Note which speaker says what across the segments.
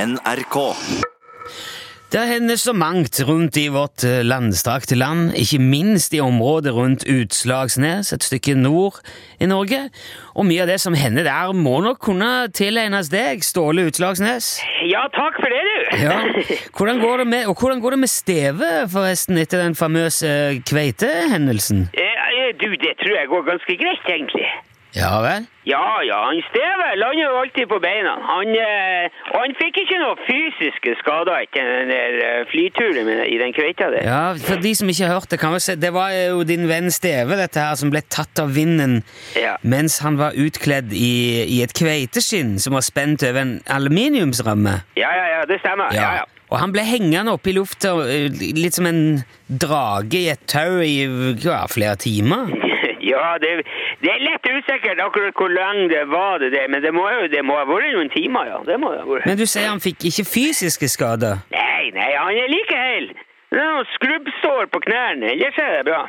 Speaker 1: NRK.
Speaker 2: Det hender så mangt rundt i vårt eh, landstrakte land, ikke minst i området rundt Utslagsnes, et stykke nord i Norge. Og mye av det som hender der, må nok kunne tilegnes deg, Ståle Utslagsnes.
Speaker 3: Ja, takk for det, du.
Speaker 2: Ja. Hvordan går det med, og hvordan går det med stevet, forresten, etter den famøse kveitehendelsen?
Speaker 3: Eh, eh, Du, det tror jeg går ganske greit, egentlig.
Speaker 2: Ja vel?
Speaker 3: Ja, ja, han Steve lander jo alltid på beina. Han, eh, og han fikk ikke noen fysiske skader etter den der eh, flyturen med, i den kveita der.
Speaker 2: Ja, for de som ikke har hørt det, kan vi se Det var jo din venn Steve, dette her, som ble tatt av vinden
Speaker 3: Ja.
Speaker 2: mens han var utkledd i, i et kveiteskinn som var spent over en aluminiumsramme.
Speaker 3: Ja, ja, ja, det stemmer. Ja, ja.
Speaker 2: Og han ble hengende oppe i lufta, eh, litt som en drage i et tau i ja, flere timer.
Speaker 3: Ja, det, det er lett usikkert akkurat hvor lenge det var det der, men det må jo det må ha vært noen timer, ja. Det må det ha vært.
Speaker 2: Men du sier han fikk ikke fysiske skader.
Speaker 3: Nei, nei, han er like hel. Det er noen skrubbsår på knærne, ellers er det bra.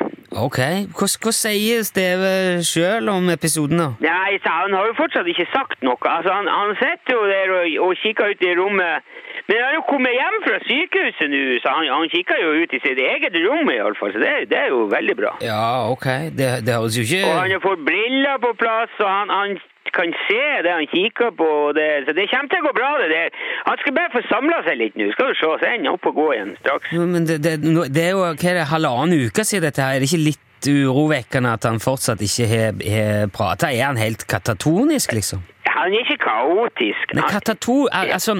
Speaker 2: Ok, Hva, hva sier Steve sjøl om episoden, da?
Speaker 3: Nei, så han har jo fortsatt ikke sagt noe. Altså, han, han sitter jo der og, og kikker ut i rommet. Men han har jo kommet hjem fra sykehuset nå, så han, han kikker jo ut i sitt eget rom i alle fall, så det, det er jo veldig bra.
Speaker 2: Ja, ok, det, det høres jo
Speaker 3: Og han
Speaker 2: ikke
Speaker 3: har fått briller på plass, og han, han kan se det han kikker på. og Det, så det kommer til å gå bra, det der. Han skal bare få samla seg litt nå. Skal du se, så er han oppe og gå igjen straks.
Speaker 2: Jo, Men det, det, nå- det er jo hva er det, halvannen uke siden dette her. Er det ikke litt urovekkende at han fortsatt ikke har- har prata? Er han helt katatonisk, liksom?
Speaker 3: Han er ikke kaotisk.
Speaker 2: Men
Speaker 3: Han-
Speaker 2: katato... al- Altså,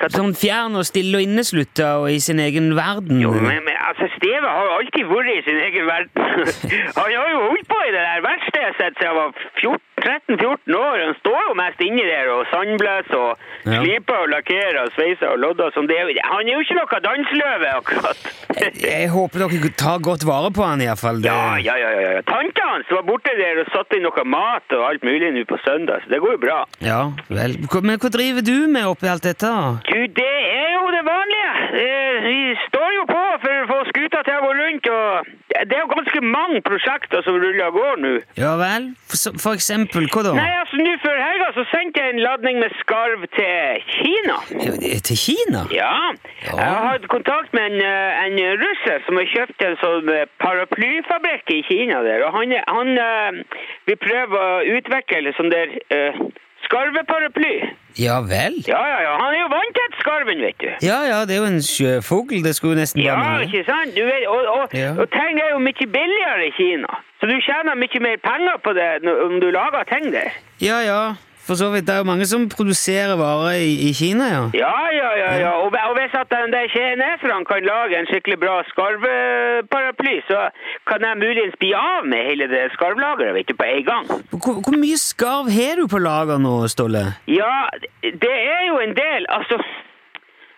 Speaker 3: Kata-
Speaker 2: sånn fjern og stille og inneslutta og i sin egen verden.
Speaker 3: Jo, men, men altså, Steve har jo alltid vært i sin egen verden. han har jo holdt på i det der verkstedet sitt siden jeg var 13-14 år. Han står jo mest inni der og sandblæser og
Speaker 2: Ja.
Speaker 3: sliper og lakkerer og sveiser og lodder som det. er jo- Han er jo ikke noe danseløve, akkurat.
Speaker 2: Jeg, jeg håper dere tar godt vare på han, iallfall.
Speaker 3: Ja, ja, ja, ja, ja. Tanta hans var borte der og satte inn noe mat og alt mulig nå på søndag, så det går jo bra.
Speaker 2: ja. Vel. Hva- Men hva driver du med oppi alt dette? da?
Speaker 3: Du, det er jo det vanlige. Eh, Vi står jo på for å få skuta til å gå rundt, og det er jo ganske mange prosjekter som ruller av gårde nå.
Speaker 2: Ja vel? For, for eksempel, hva da?
Speaker 3: Nei, altså, nå før helga så sendte jeg en ladning med skarv til Kina.
Speaker 2: Til Kina?
Speaker 3: Ja.
Speaker 2: Ja.
Speaker 3: Jeg har hatt kontakt med en, eh, en russer som har kjøpt en sånn eh, paraplyfabrikk i Kina der, og han, er- han eh, vil prøve å utvikle sånn der eh, skarveparaply.
Speaker 2: Ja vel?
Speaker 3: Ja, ja, ja. Han er jo vant til skarven, vet du.
Speaker 2: Ja ja, det er jo en sjøfugl. Det skulle jo nesten
Speaker 3: Ja,
Speaker 2: bare mangle.
Speaker 3: ikke sant? Du vet, og, og,
Speaker 2: Ja.
Speaker 3: og ting er jo mye billigere i Kina, så du tjener mye mer penger på det når- om du lager ting der.
Speaker 2: Ja ja, for så vidt. Det er jo mange som produserer varer i, i Kina, ja.
Speaker 3: Ja, ja, ja. ja. Og, og hvis at den der kineserne kan lage en skikkelig bra skarvparaply, så kan de muligens bli av med hele det skarvlageret vet du, på en gang.
Speaker 2: Hvor, hvor mye skarv har du på lager nå, Ståle?
Speaker 3: Ja, det er jo en del. Altså,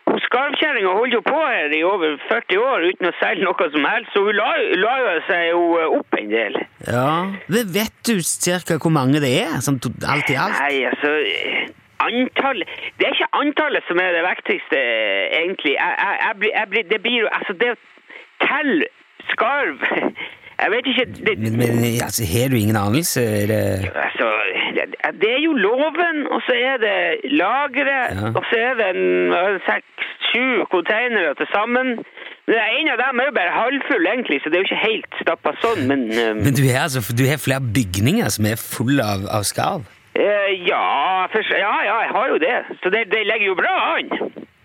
Speaker 3: hun skarvkjerringa holdt jo på her i over 40 år uten å selge noe som helst, så hun la, la jo seg jo eh, opp en del.
Speaker 2: Ja, Ve- Vet du cirka hvor mange det er? Sånn to- alt i alt?
Speaker 3: Nei, altså antall, Det er ikke antallet som er det viktigste, egentlig. Jeg, jeg, jeg, blir- jeg, blir- det blir jo Altså, det å telle skarv Jeg vet ikke det,
Speaker 2: Men, men altså, har du ingen anelse? Er det
Speaker 3: Altså, det, det er jo loven, og så er det lageret,
Speaker 2: Ja.
Speaker 3: og så er det en- en seks-sju containere til sammen. Men En av dem er jo bare halvfull, egentlig, så det er jo ikke helt stappa sånn, men um,
Speaker 2: Men du har altså, du har flere bygninger som er fulle av, av skarv?
Speaker 3: eh, ja, for, ja, ja, jeg har jo det. Så det, det legger jo bra an.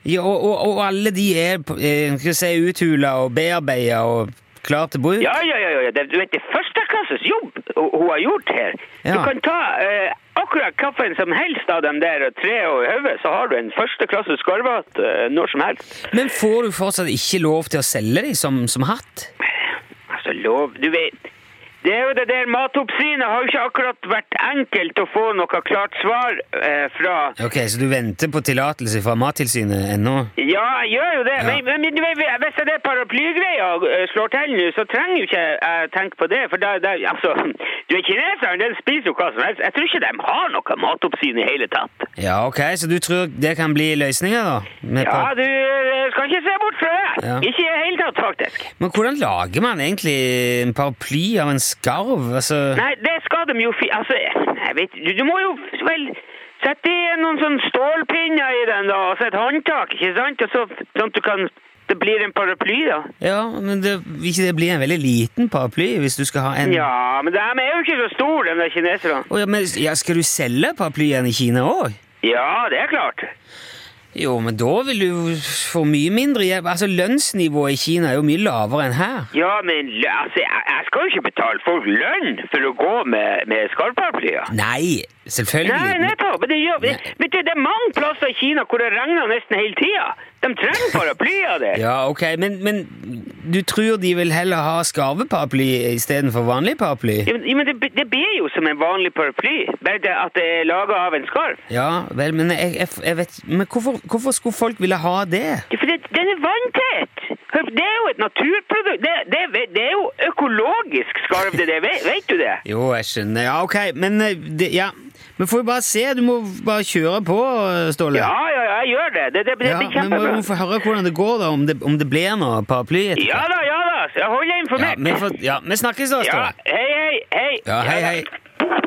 Speaker 2: Ja, og, og, og alle de er på- eh, skal jeg si, uthula og bearbeida og klar til bruk?
Speaker 3: Ja, ja, ja, ja. Det, du vet, det er førsteklasses jobb hun hun har gjort her. Du
Speaker 2: Ja.
Speaker 3: kan ta eh, akkurat hvilken som helst av dem der og tre og i hodet, så har du en førsteklasses skarvhatt eh, når som helst.
Speaker 2: Men får du fortsatt ikke lov til å selge de som, som hatt?
Speaker 3: Altså, lov Du vet, det er jo det der matopsynet har jo ikke akkurat vært enkelt å få noe klart svar eh, fra.
Speaker 2: Ok, Så du venter på tillatelse fra Mattilsynet ennå?
Speaker 3: Ja, jeg gjør jo det.
Speaker 2: Ja.
Speaker 3: Men, men, du vet, hvis det der paraplygreia eh, slår til nå, så trenger jo ikke jeg tenke på det. For da, da altså Du er kineser, den spiser jo hva som helst. Jeg tror ikke de har noe matoppsyn i hele tatt.
Speaker 2: Ja, ok, så du tror det kan bli løsninger, da? Med
Speaker 3: Ja,
Speaker 2: par-
Speaker 3: du eh, skal ikke se bort fra det.
Speaker 2: Ja.
Speaker 3: Ikke i det hele tatt, faktisk.
Speaker 2: Men hvordan lager man egentlig en paraply av en skarv? Altså,
Speaker 3: Nei, det skal de jo fi... Altså, jeg vet Du, du må jo vel Sett i noen sånn stålpinner i den, da, og så et håndtak, ikke sant? Og så, sånn at du kan Det blir en paraply, da.
Speaker 2: Ja, men det, vil ikke det bli en veldig liten paraply hvis du skal ha en
Speaker 3: Ja, men de er jo ikke så store, de der kineserne.
Speaker 2: Å ja, men ja, skal du selge paraplyen i Kina òg?
Speaker 3: Ja, det er klart.
Speaker 2: Jo, men da vil du jo få mye mindre hjelp. Altså, Lønnsnivået i Kina er jo mye lavere enn her.
Speaker 3: Ja, men l- altså, jeg, jeg skal jo ikke betale folk lønn for å gå med, med skarparaplyer.
Speaker 2: Nei,
Speaker 3: Nei,
Speaker 2: selvfølgelig.
Speaker 3: nettopp. Men Det, gjør,
Speaker 2: Nei.
Speaker 3: vet du, det er mange plasser i Kina hvor det regner nesten hele tida. De trenger paraplyer der.
Speaker 2: Ja, ok, men, men du tror de vil heller ha skarveparaply istedenfor vanlig paraply?
Speaker 3: Ja, men- ja, men det, b- det blir jo som en vanlig paraply, bare det at det er laga av en skarv.
Speaker 2: Ja, vel, men jeg, jeg, jeg vet Men hvorfor, hvorfor skulle folk ville ha det?
Speaker 3: Ja, For det, den er vanntett! Hør, Det er jo et naturprodukt. Det, det, vet- det er jo økologisk skarv, det der. Vet, vet du det?
Speaker 2: Jo, jeg skjønner. Ja, ok, men eh, det, Ja. Vi får jo bare se. Du må bare kjøre på, Ståle.
Speaker 3: Ja, ja, ja, jeg gjør det. Det, det, det
Speaker 2: Ja,
Speaker 3: blir
Speaker 2: men må
Speaker 3: kjempebra.
Speaker 2: jo få høre hvordan det går, da. Om det, om det blir noe paraply etterpå.
Speaker 3: Ja da, ja da. Jeg holder deg
Speaker 2: Ja,
Speaker 3: informert.
Speaker 2: vi får- ja, vi snakkes da,
Speaker 3: Ja,
Speaker 2: Ståle.
Speaker 3: hei, hei, hei.
Speaker 2: Ja, hei, hei.